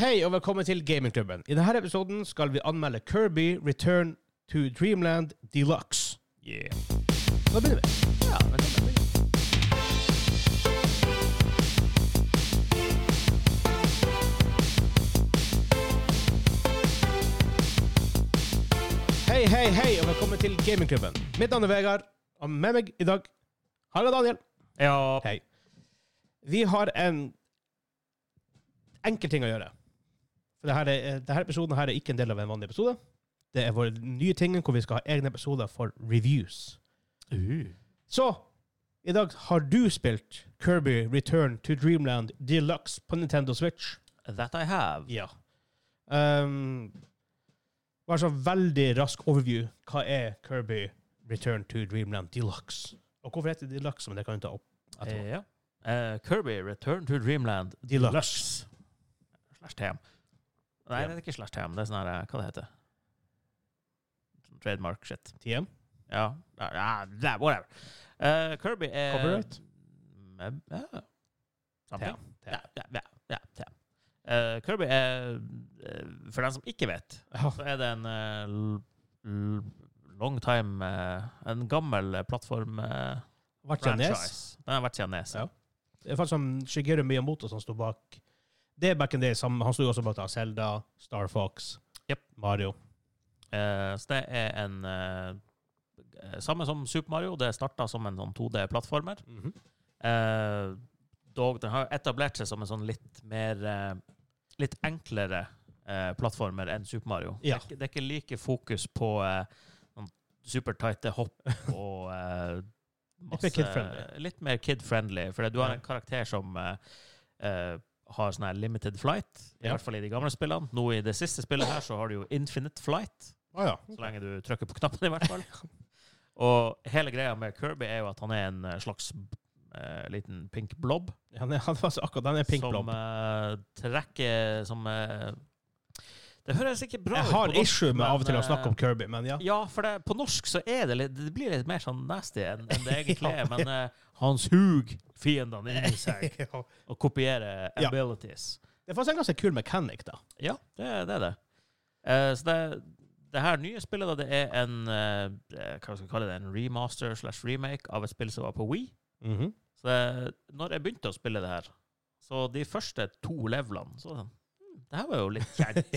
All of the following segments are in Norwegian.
Hei og velkommen til Gamingklubben. I denne episoden skal vi anmelde Kirby Return to Dreamland Deluxe. Yeah. Da begynner vi. Ja, det kan det bli. Hei, hei, hei og velkommen til Gamingklubben. Mitt navn er Vegard, og med meg i dag har jeg Daniel. Ja. Hei. Vi har en enkel ting å gjøre. For dette, er, denne episoden her er ikke en del av en vanlig episode. Det er våre nye ting hvor vi skal ha egne episoder for reviews. Så i dag har du spilt Kirby Return to Dreamland Deluxe på Nintendo Switch. That I have. Ja. Um, bare sånn veldig rask overview. Hva er Kirby Return to Dreamland Deluxe? Og hvorfor heter det Deluxe? Men det kan du ta opp. Eh, etterpå. ja. Eh, Kirby, Return to Dreamland. Deluxe. Slash TM. Nei, det er ikke slash TM. Det er sånn her, eh, hva det heter Sånn Trademark shit. TM? Ja, ja, ja, ja, whatever. Eh, Kirby er Copyright? Eh, Ja. Something. TM. Ja, ja, ja, ja, TM. Eh, Kirby er, eh, for den som ikke vet, Ja. så er det en eh, l- l- long time eh, En gammel eh, plattform eh, Vært siden NES. franchise. Den har vært siden Nes. Ja. Det er faktisk som Shigeru Miyamoto som sto bak. Det er back in the days. Han han sto jo også bak da, Zelda, Star Fox, Jep. Mario. Eh, så det er en eh, Samme som Super Mario, det starta som en sånn 2D-plattformer. Mhm. Eh, dog, den har etablert seg som en sånn litt mer eh, Litt enklere eh, plattformer enn Super Mario. Ja. Det, er ikke, det er ikke like fokus på eh, noen supertighte hopp og eh, Litt mer kid-friendly. Litt mer kid-friendly, for du har Ja. en karakter som eh, eh, har sånn her limited flight, i Ja. hvert fall i de gamle spillene. Nå i det siste spillet her så har du jo infinite flight. Å ja. Så lenge du trykker på knappen, i hvert fall. Og hele greia med Kirby er jo at han er en eh, slags eh, liten pink blob. Han er, han er altså akkurat, han er pink som blob. eh, trekker Som eh, Det høres ikke bra Jeg ut. har på norsk, issue med men, av og til å eh, snakke om Kirby, men ja. ja, for det, på norsk så er det litt, det blir litt mer sånn nasty enn enn det egentlig Ja. er. Men eh, han suger fiendene inni seg Ja. og kopierer Ja. abilities. Det er faktisk en ganske kul mechanic, da. Ja, det, det er det. Eh, så det, det her nye spillet da, det er en eh, hva skal vi kalle det, en remaster slash remake av et spill som var på Wii. Så det, når jeg begynte å spille det her, så de første to levelene så var det sånn, «Hm, Det her var jo litt kjent.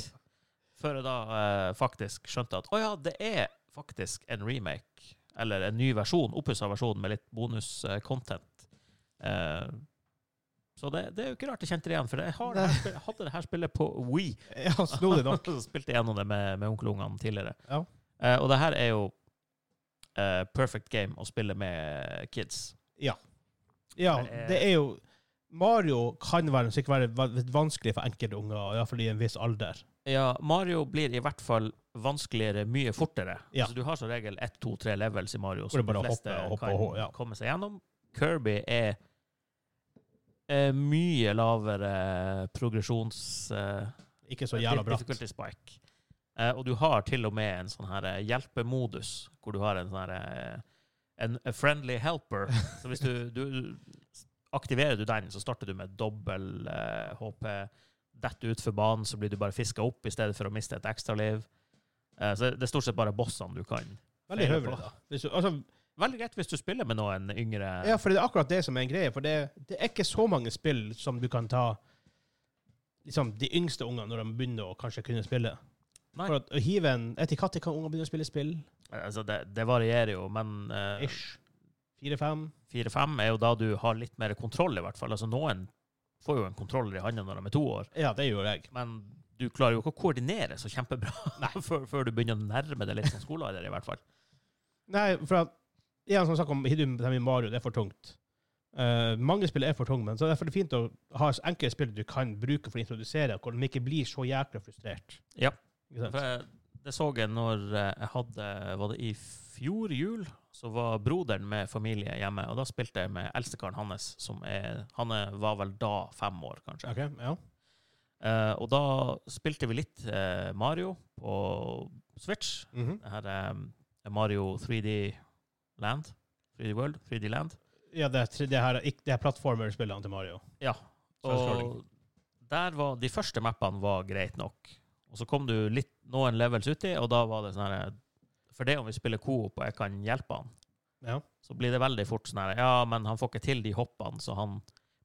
Før jeg da eh, faktisk skjønte at å ja, det er faktisk en remake. Eller en ny versjon, oppussa versjon med litt bonus-content. Eh, så det, det er jo ikke rart jeg kjente det igjen, for jeg, har det her, spillet- jeg hadde det her spillet på Wee. Ja, snodig nok. Så spilte jeg gjennom det med, med onkelungene tidligere. Ja. Eh, og det her er jo eh, perfect game å spille med kids. Ja, det er jo Mario kan være, sikkert være va- litt vanskelig for enkelte unger, iallfall i en viss alder. Ja, Mario blir i hvert fall vanskeligere mye fortere. Ja. Altså, du har som regel ett, to, tre levels i Mario Hvor det bare hopper og hopper kan og hopper, ja. komme seg gjennom. Kirby er eh, mye lavere progresjons... eh, Ikke så jævla bra. Difficulty spike. Eh, og du har til og med en sånn her eh, hjelpemodus, hvor du har en sånn her eh, en a friendly helper. Så hvis du, du aktiverer du den, så starter du med dobbel eh, HP. Detter utfor banen, så blir du bare fiska opp i stedet for å miste et ekstraliv. Eh, så det er stort sett bare bossene du kan. Veldig høvelig, da. Hvis du, altså, Veldig greit hvis du spiller med noen yngre. ja, for det er akkurat det som er en greie. For det, det er ikke så mange spill som du kan ta liksom, de yngste ungene når de begynner å kanskje kunne spille. Nei. For at, å hive en Etter når kan unger begynne å spille spill? Altså, det, det varierer jo, men eh, Ish. Fire-fem? 4-5 er jo da du har litt mer kontroll, i hvert fall. Altså Noen får jo en kontroller i hånda når de er to år, Ja, det gjør jeg. men du klarer jo ikke å koordinere så kjempebra før, før du begynner å nærme deg litt som skolealder, i hvert fall. Nei, for at Igjen som sagt om Hidum det her med Mario, det er for tungt. Eh, mange spill er for tunge, men så derfor er det fint å ha så enkle spill du kan bruke for å introdusere, hvor de ikke blir så jækla frustrert. Ja. Ikke For sant? jeg, det så jeg når eh, jeg hadde Var det i fjor jul? Så var broderen med familie hjemme, og da spilte jeg med eldstekarlen hans, som er Han er- var vel da fem år, kanskje. Ok, ja. Eh, og da spilte vi litt eh, Mario på Switch. Mhm. Det her er ehm, Mario 3D Land. 3D World, 3D Land. ja det, er tre- det her er ikke- det er plattformer-spillene til Mario. Ja. Side-scrolling. Og der var, de første mappene var greit nok. Og så kom du litt, noen levels uti, og da var det sånn her For det om vi spiller coop og jeg kan hjelpe han, Ja. så blir det veldig fort sånn her Ja, men han får ikke til de hoppene, så han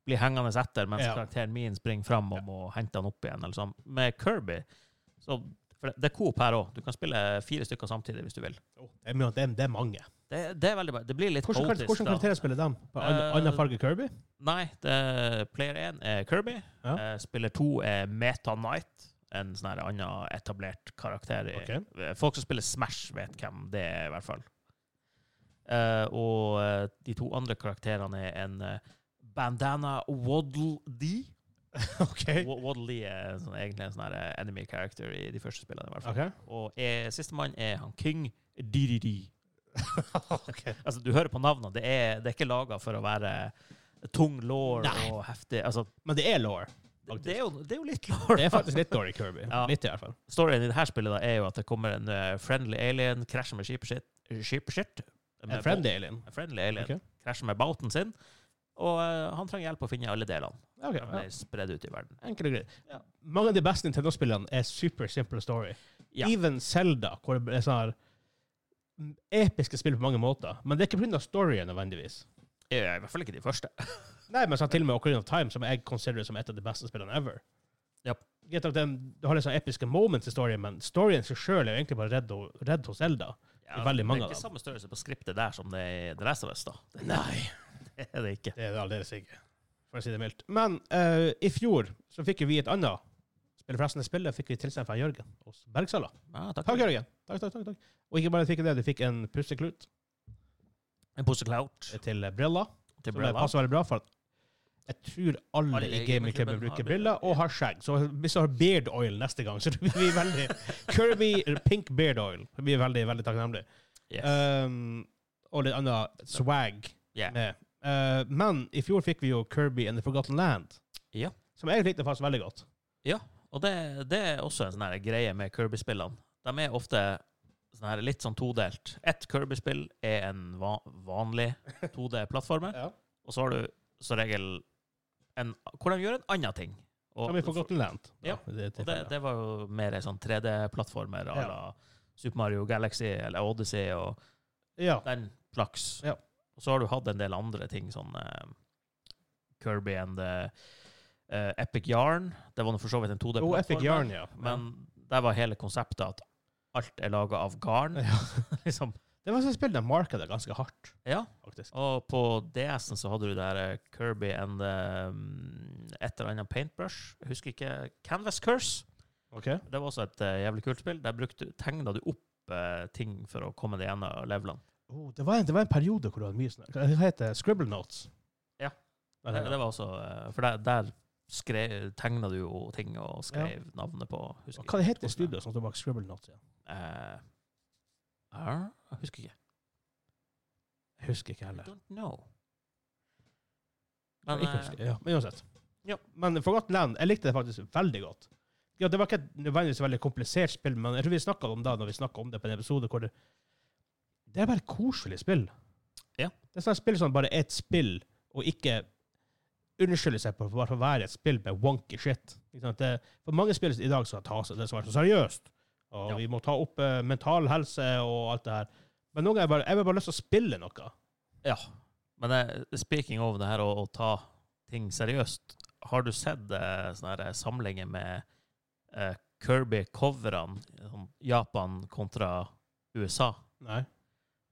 blir hengende etter mens Ja. karakteren min springer fram og må hente han opp igjen. Eller sånn. Med Kirby så for det, det er coop her òg. Du kan spille fire stykker samtidig hvis du vil. Oh, det, er, mye- det, er, det er mange. Det, det er veldig bra. Det blir litt Hvordan, kar- hvordan da. karakterer spiller dem? På an, Eh, annen farge Kirby? Nei, det, player 1 er Kirby. Ja. Eh, spiller 2 er Meta Knight, en sånn her annen etablert karakter. I. Eh, Folk som spiller Smash, vet hvem det er, i hvert fall. Eh, og eh, de to andre karakterene er en eh, Bandana Waddle Dee. OK. Wa- Waddle Dee er en sånn, egentlig en sånn her eh, enemy character i de første spillene. i hvert fall. Ok. Og eh, sistemann er han King DDD. Ok. Altså, du hører på navnene. Det er, det er ikke laga for å være tung lår Nei. og heftig. Altså, Men det er law. det, Faktisk. det, er jo, det er jo litt lår. Det er faktisk litt dårlig Kirby. Ja. Litt, i hvert fall. Storyen i det her spillet da, er jo at det kommer en eh, friendly alien, krasjer med skipet sitt, skipet sitt En friendly alien. en friendly alien Ok. krasjer med bauten sin, og eh, han trenger hjelp å finne alle delene. Ok, De ja. er spredd ut i verden. Enkelt og greit. Ja. Mange av de beste Nintendo-spillene er super simple story. Ja. Even Zelda, hvor det er sånn her mm, episke spill på mange måter. Men det er ikke pga. storyen nødvendigvis. Eh, I hvert fall ikke de første. Nei, men sånn til og med Ocarina of Time, som jeg considerer som et av de beste spillene ever. Ja. Greit nok, den, du har litt sånn episke moments i storyen, men storyen seg sjøl er jo egentlig bare redd, og- redd hos Zelda. Det er veldig mange av Det er ikke dem. samme størrelse på skriptet der som det er i The Last of Us, da. Nei. Det er det ikke. Det er det aldeles ikke, for å si det mildt. Men eh, i fjor så fikk jo vi et annet spill. Forresten, det spillet fikk vi tilsendt fra Jørgen hos Bergsala. Ja, takk. Takk, Jørgen. Takk, takk, takk, takk. Og ikke bare fikk jeg det, du fikk en pusseklut En pose clout til briller. til Som det Brella. passer veldig bra for at jeg tror alle, Alle i i gamingklubben gamingklubben har bruker briller, briller og har skjegg. Så hvis du har beard oil neste gang, så blir vi veldig Kirby pink beard oil. Det blir veldig, veldig takknemlig. Yes. Um, og litt annet swag Yeah. med. Uh, men i fjor fikk vi jo Kirby and the Forgotten Land, Ja. som jeg likte faktisk veldig godt. Og det, det er også en sånn her greie med Kirby-spillene. De er ofte sånn her litt sånn todelt. Ett Kirby-spill er en va vanlig 2D-plattformer, Ja. og så har du som regel en hvor de gjør en annen ting. Og, Som i Forgotten Land. Ja, det, og det, det var jo mer en sånn 3D-plattformer à la Super Mario Galaxy eller Odyssey og ja. den slags. Ja. Og så har du hatt en del andre ting, sånn eh, Kirby and the eh, Epic Yarn. Det var nå for så vidt en Og 2D-plattformer. Epic Yarn, ja. Men der var hele konseptet at alt er laga av garn. ja. liksom. Det var sånn spill de markedet ganske hardt, Ja. faktisk. Og på DS-en så hadde du der eh, Kirby and um, et eller annet paintbrush. Jeg husker ikke. Canvas Curse. Ok. Det var også et eh, jævlig kult spill. Der brukte, tegna du opp eh, ting for å komme deg gjennom levelene. Oh, det, var en, det var en periode hvor det var mye sånn Hva heter det? Scribble notes? Ja. Nei, Det, nei, det var også, eh, for der, der skrev, tegna du jo ting og skrev navnet på. nei. Husker Hva ikke heter det hvordan studioet som står bak Scribble notes? igjen? Eh, er- jeg husker ikke. Jeg husker ikke I heller. don't know. Men, ikke eh, husker, ja. men uansett. ja. Men Forgotten Land, jeg likte det faktisk veldig godt. Ja, det var ikke et nødvendigvis veldig komplisert spill, men jeg tror vi snakka om det når vi snakket om det på en episode hvor det Det er bare et koselig spill. Ja. Det er sånn spill som bare er et spill, og ikke unnskylder seg på for bare for å være et spill med wonky shit. Ikke sant? Det, for mange spill i dag skal ta seg det som er så seriøst, og Ja. vi må ta opp eh, mental helse og alt det her. Men noen ganger bare, jeg har bare lyst til å spille noe. Ja. Men eh, speaking of det her å, å ta ting seriøst, har du sett eh, sånne her samlinger med eh, Kirby-coverne, sånn Japan kontra USA? Nei.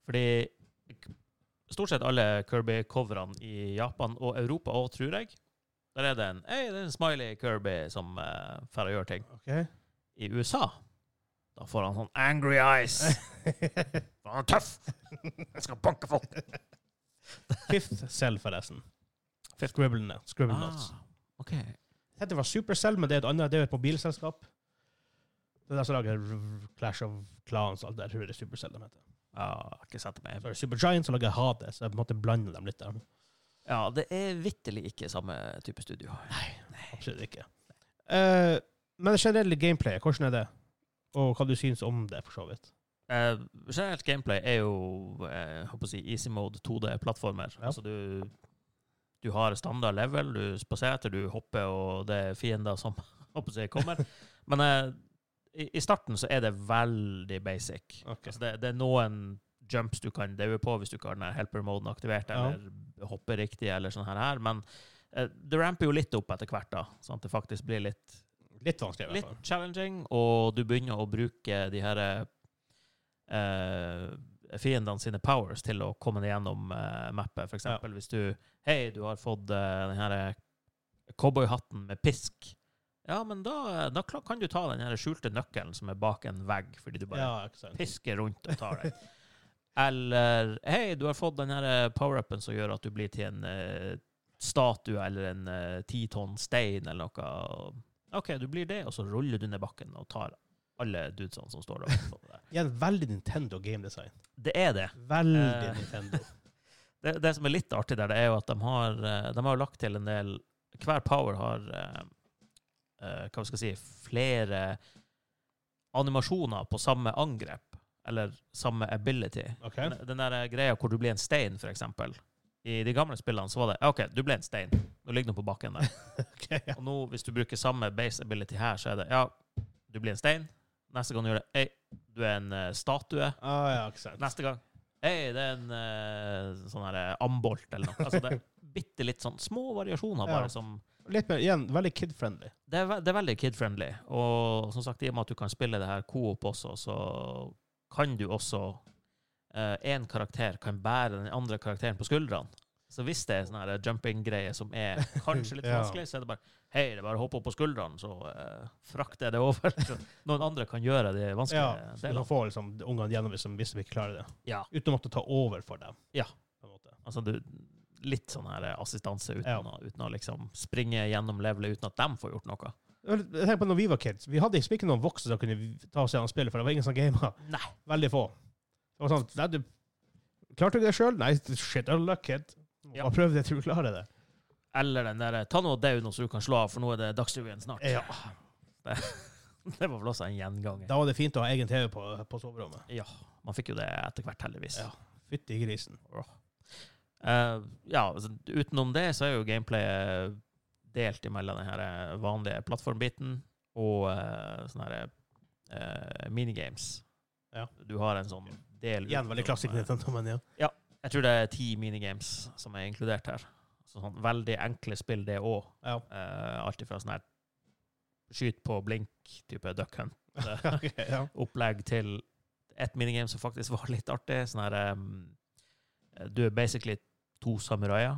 Fordi k- stort sett alle Kirby-coverne i Japan og Europa òg, tror jeg, der er det en, hey, det er en smiley Kirby som eh, får gjøre ting. I USA, da får han sånn angry eyes. Ok. For Han er tøff! Jeg skal banke folk! Fifth Cell, forresten. Scribblene. Scribble Notes. Ah, ok. Dette var Supercell, men det er et annet, det er jo et mobilselskap. Det er der som lager r- Clash of Clans og alt det der. Jeg tror det er Supercell de heter. Ja, jeg har ikke sett det med. Så er det Supergiant som lager Hades, så jeg på en måte blander dem litt der. Ja, det er vitterlig ikke samme type studio. Absolutt ikke. Eh, men det generelle gameplayet, hvordan er det? Og hva du syns om det, for så vidt? Eh, generelt gameplay er jo eh, jeg håper å si, easy mode 2D-plattformer. Ja. Altså du, du Du har standard level, du spaserer, du hopper, og det er fiender som håper jeg kommer. Men eh, i, i starten så er det veldig basic. Ok. Altså det, det er noen jumps du kan daue på hvis du ikke har den her helper-moden aktivert, Ja. eller hopper riktig, eller sånn her. her. Men eh, det ramper jo litt opp etter hvert, da, sånn at det faktisk blir litt Litt vanskelig, i hvert litt fall. challenging, og du begynner å bruke de her eh, fiendene sine powers til å komme deg gjennom eh, mappet. For eksempel hvis du Hei, du har fått eh, den her cowboyhatten med pisk. Ja, men da, da kla- kan du ta den her skjulte nøkkelen som er bak en vegg, fordi du bare Ja, ikke sant. pisker rundt og tar den. Eller Hei, du har fått den her eh, power-upen som gjør at du blir til en eh, statue eller en eh, ti tonn stein eller noe. OK, du blir det, og så ruller du ned bakken og tar alle dudesene som står der. oppe på deg. Igjen, veldig Nintendo game design. Det er det. Veldig Eh. Nintendo. det. Det som er litt artig der, det er jo at de har, eh, de har jo lagt til en del Hver power har eh, eh, hva skal jeg si, flere animasjoner på samme angrep, eller samme ability. Ok. Den, den der eh, greia hvor du blir en stein, for eksempel. I de gamle spillene så var det OK, du ble en stein. Nå ligger du på bakken der. Ok, ja. Og nå, hvis du bruker samme base ability her, så er det ja, du blir en stein. Neste gang du gjør det, ei, du er en eh, statue. Ah, ja, ikke sant. Neste gang, ei, det er en eh, sånn her eh, ambolt eller noe. Altså, det er bitte litt sånn små variasjoner Ja. bare som Litt mer, igjen, veldig kid-friendly. det er, ve det er veldig kid-friendly. Og som sagt, i og med at du kan spille det her co-op også, så kan du også Én karakter kan bære den andre karakteren på skuldrene. Så hvis det er sånn her jumping-greie som er kanskje litt Ja. vanskelig, så er det bare Hei, det er bare å hoppe opp på skuldrene, så eh, frakter jeg det over. Så Noen andre kan gjøre de vanskelige Ja, så du delene. kan få liksom, ungene gjennom hvis de- hvis de ikke klarer det. Ja. Uten å måtte ta over for dem. Ja. På en måte. Altså, du, litt sånn her eh, assistanse uten, Ja. å, uten å liksom springe gjennom levelet uten at de får gjort noe. Vel, Tenk på når vi var kids. Vi hadde liksom ikke noen voksne som kunne ta oss gjennom spillet, for det var ingen som gamer. Nei. Veldig få. Det var sånn, nei, du, Klarte du ikke det sjøl? Nei, shit, I'm lucky. Ja. Bare prøv det til du klarer det. Eller den derre Ta nå dauen, så du kan slå av, for nå er det Dagsrevyen snart. Ja. Det, det var vel også en gjenganger. Da var det fint å ha egen TV på, på soverommet. Man fikk jo det etter hvert, heldigvis. Ja. Fytti grisen. Eh, ja, altså, utenom det så er jo gameplayet delt imellom den her eh, vanlige plattformbiten og eh, sånne her eh, minigames. Ja. Du har en sånn del Igjen veldig utenom, klassisk eh, Nintendo, men ja. Jeg tror det er ti minigames som er inkludert her. Så sånn veldig enkle spill, det òg. Ja. alt ifra sånn her skyt på blink-type duck hunt-opplegg Ok, ja. til et minigame som faktisk var litt artig. Sånn her em, Du er basically to samuraier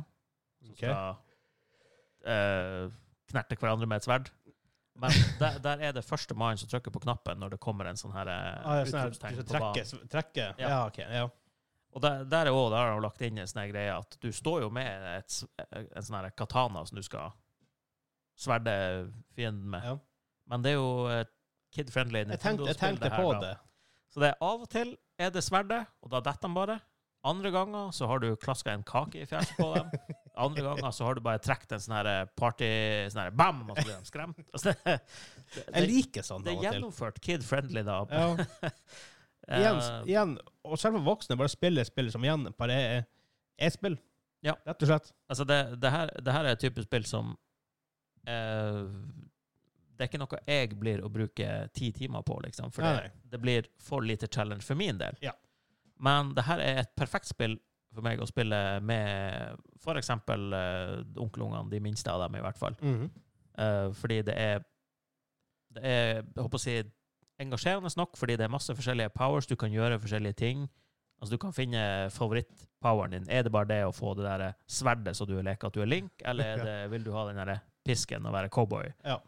som Ok. skal eh, knerte hverandre med et sverd. Men der, der er det første mann som trykker på knappen når det kommer en sånn her eh, Ah, ja, sånn her, utropstegn du på banen. trekker, trekker. Ja. Ja. ok. Ja. Og der, der er også, der har de lagt inn en sånn her greie at du står jo med et, s- en sånn her katana som du skal sverde fienden med. Ja. Men det er jo et kid-friendly Jeg tenkte, jeg Nintendo-spill tenkte det her, på da. det. Så det er av og til er det sverdet, og da detter de bare. Andre ganger så har du klaska en kake i fjeset på dem. Andre ganger så har du bare trukket en sånn her party sånn her bam, og så blir de skremt. Altså, det, det, Jeg det, liker sånn det av er og til. gjennomført kid-friendly, da. Ja. Eh, igjen, igjen, og selv om voksne bare spiller spill som igjen bare er er spill. Ja. Rett og slett. Altså, det, det, her, det her er et type spill som eh, Det er ikke noe jeg blir å bruke ti timer på, liksom. For Nei, det, det blir for lite challenge for min del. Ja. Men det her er et perfekt spill for meg å spille med f.eks. Eh, onkelungene, de minste av dem, i hvert fall. Mhm. Eh, fordi det er Det er jeg håper å si, engasjerende nok, fordi det er masse forskjellige powers. Du kan gjøre forskjellige ting. Altså, du kan finne favorittpoweren din. Er det bare det å få det der sverdet så du leker at du er Link, eller er det, vil du ha den der pisken og være cowboy? Ja.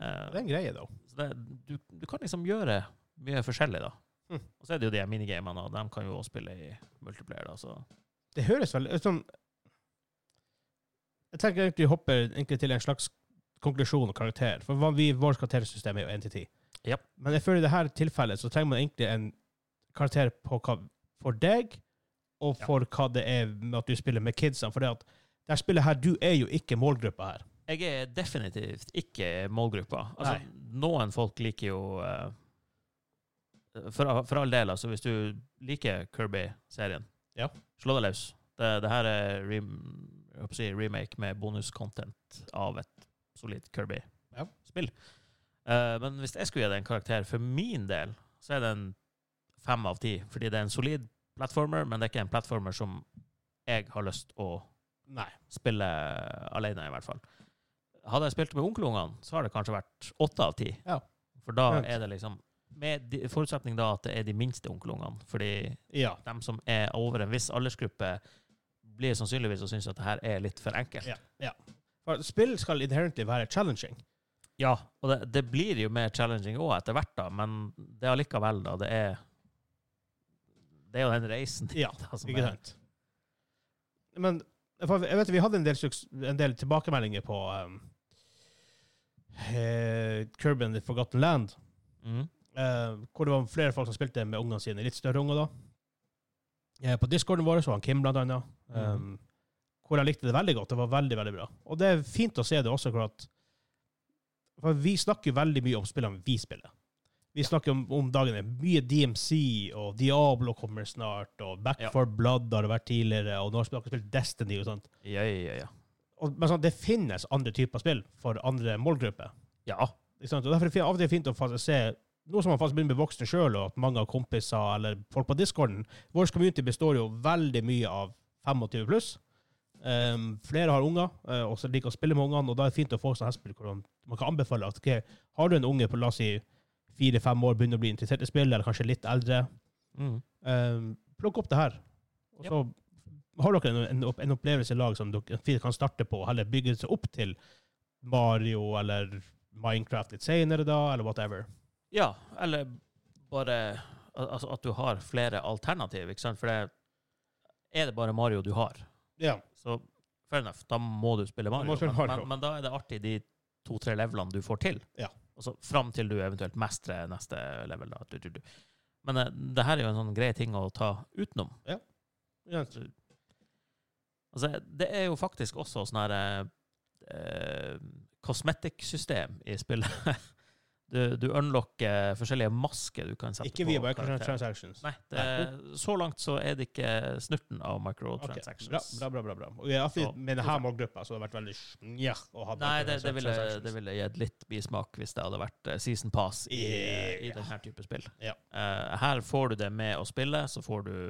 Eh, Det er en greie, da. så det, du, du kan liksom gjøre mye forskjellig, da. Mm. Og så er det jo de her minigamene, og de kan jo også spille i multiplayer, da, så Det høres veldig ut som Jeg tenker egentlig vi hopper egentlig til en slags konklusjon og karakter. For hva vi, vårt karaktersystem er jo 1 til 10. Ja. Men jeg føler i dette tilfellet så trenger man egentlig en karakter på hva, for deg, og Ja. for hva det er med at du spiller med kidsene. For det at det her spillet her, du er jo ikke målgruppa her. Jeg er definitivt ikke målgruppa. Altså, noen folk liker jo eh, for, for all del, altså, hvis du liker Kirby-serien, Ja. slå deg løs. Det, det her er rem, jeg håper å si, remake med bonuscontent av et solid Ja. Kirby-spill. Eh, men hvis jeg skulle gi det en karakter for min del, så er det en fem av ti. Fordi det er en solid platformer, men det er ikke en platformer som jeg har lyst å Nei. spille alene, i hvert fall. Hadde jeg spilt med onkelungene, så har det kanskje vært åtte av ti. Ja. For da Ja. er det liksom Med de, forutsetning da at det er de minste onkelungene. Fordi Ja. dem som er over en viss aldersgruppe, blir sannsynligvis å synes at det her er litt for enkelt. ja. ja. For Spill skal inherently være challenging. Ja, og det, det blir jo mer challenging òg etter hvert, da, men det er allikevel, da. Det er Det er jo den reisen. Ja, da, som Ikke er- sant? Men for jeg vet, vi hadde en del, suks- en del tilbakemeldinger på um, eh, Curb and the Forgotten Land, Mm. eh, hvor det var flere folk som spilte med ungene sine, litt større unger da. Eh, på discorden vår så var han Kim blant annet, um, hvor han likte det veldig godt. Det var veldig, veldig bra. Og det er fint å se det også, for, at, for vi snakker jo veldig mye om spillene vi spiller. Vi snakker om, om dagene. Mye DMC, og Diablo kommer snart, og Back Ja. for Blood har det vært tidligere, og nå har vi akkurat spilt Destiny og sånt. Ja, ja, ja. Og, men sånn, det finnes andre typer spill for andre målgrupper. Ja. Ikke sant? Og Derfor er det fin- av og til fint å faktisk se nå som man faktisk begynner å bli voksen sjøl, og at mange av kompiser eller folk på discorden Vår community består jo veldig mye av 25 pluss. Ehm, flere har unger eh, og så liker å spille med ungene, og da er det fint å få sånne her spill hvor man, man kan anbefale at ok, har du en unge på la oss si fire-fem år, begynner å bli interessert i spill, eller kanskje litt eldre, Mm. ehm, plukk opp det her. Og så har dere en, en, opp- en opplevelse i lag som dere fint kan starte på, og heller bygge seg opp til Mario eller Minecraft litt senere, da, eller whatever. Ja, eller bare al- altså at du har flere alternativ, ikke sant? For det er det bare Mario du har. Ja. Så fair enough, da må du spille Mario. må spille Mario. Men, men, men da er det artig de to-tre levelene du får til. Ja. Og så fram til du eventuelt mestrer neste level. Da. Du, du, du. Men eh, det her er jo en sånn grei ting å ta utenom. ja. Altså, det er jo faktisk også sånn her eh, eh, kosmetikksystem i spillet. Du, du unlocker forskjellige masker du kan sette Ikke på. via karakterer. microtransactions. Nei, det, så langt så er det ikke snurten av microtransactions. Ok, Bra, bra, bra. bra, bra. Og jeg har Så- alltid med denne målgruppa så det har vært veldig snja å ha Nei, det, det, ville, microtransactions. det ville gitt litt bismak hvis det hadde vært eh, season pass i, i Ja. denne type spill. Ja. Eh, her får du det med å spille, så får du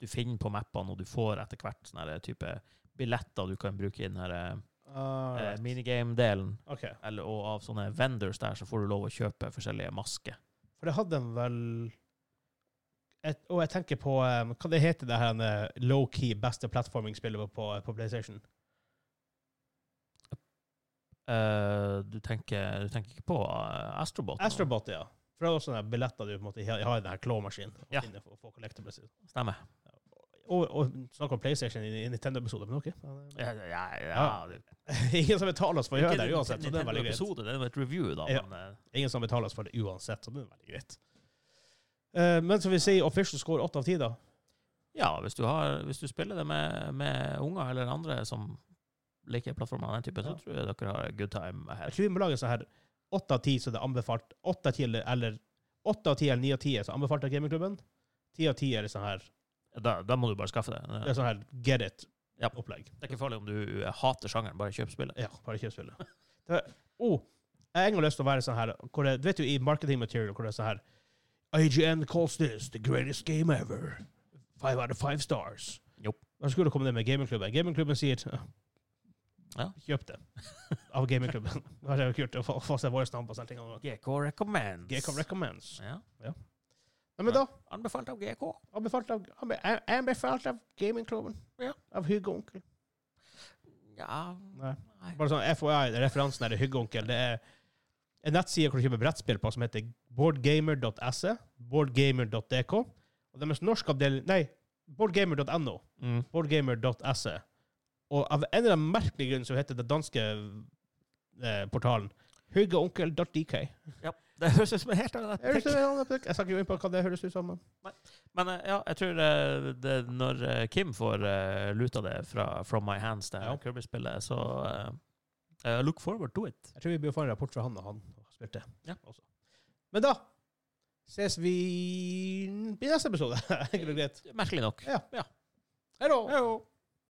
Du finner på mappene, og du får etter hvert sånne her type billetter du kan bruke i den her eh, Alright. minigame-delen. Ok. Eller, og av sånne vendors der, så får du lov å kjøpe forskjellige masker. For det hadde de vel et, Og jeg tenker på um, Hva det heter det her eh, low-key beste plattforming-spillet på, på PlayStation? Eh, du, tenker, du tenker ikke på eh, Astrobot? nå? Astrobot, ja. For det er også sånne billetter du på en måte har har i denne claw-maskinen. og Ja. finner for- for collectibles. Stemmer. Og, og snakk om PlayStation i, i Nintendo-episoden, men OK. Ja, ja, ja, Ja. det- Ingen som betaler oss for å gjøre det Ikke uansett, så det er Nintendo veldig greit. episode, Det er jo et review, da. Ja. Men, eh, Ingen som betaler oss for det uansett, så det er veldig greit. Eh, men som vi sier, official score 8 av 10, da. ja, hvis du, har, hvis du spiller det med, med unger eller andre som liker plattformer av den typen, Ja. så tror jeg dere har a good time Jeg her. tror vi må lage sånn her 8 av 10 så det er anbefalt. 8 av 10 eller- eller 8 av 10 eller 9 av 10 er så anbefalt av gamingklubben. 10 av 10 er det sånn her, Da, da må du bare skaffe det. det er Det sånn her get Ja. it-opplegg. er ikke farlig om du eh, hater sjangeren, bare kjøp spillet. Ja, bare kjøp spillet. Det er- Oh, jeg har en gang lyst til å være sånn her hvor det, Du vet jo i marketing material hvor det er sånn her IGN calls this the greatest game ever. Five out of five stars. Jo. Da skulle det komme det med gamingklubben. Gamingklubben sier Ja. kjøp det av gamingklubben. Det hadde vært kult å få- få seg våre navn på sånne ting. GK recommends. GK recommends. Ja. Nei, men da Anbefalt av GK. anbefalt av, anbe- jeg- jeg anbefalt av gamingklubben. Ja. Av Hyggeonkel. Ja Nei. Nei. Bare sånn FYI, den referansen er det Hyggeonkel. Det er en nettside hvor du kjøper brettspill på som heter boardgamer.se, boardgamer.dk, og deres norske avdeling Nei, boardgamer.no, Mm. boardgamer.se. Og av en eller annen merkelig grunn så heter det danske eh, portalen hyggeonkel.dk. Det høres ut som en helt annen Jeg snakker jo inn på hva det høres ut som. men- Men eh, ja, jeg tror eh, det, når eh, Kim får eh, luta det fra From My Hands, det her Ja. Kirby-spillet, så eh, eh, look forward to it. Jeg tror vi bør få en rapport fra han og han har spilt det. Ja. Også. Men da ses vi i neste episode. Enkelt og greit. Merkelig nok. Ja. ja. Hei da! Hei då.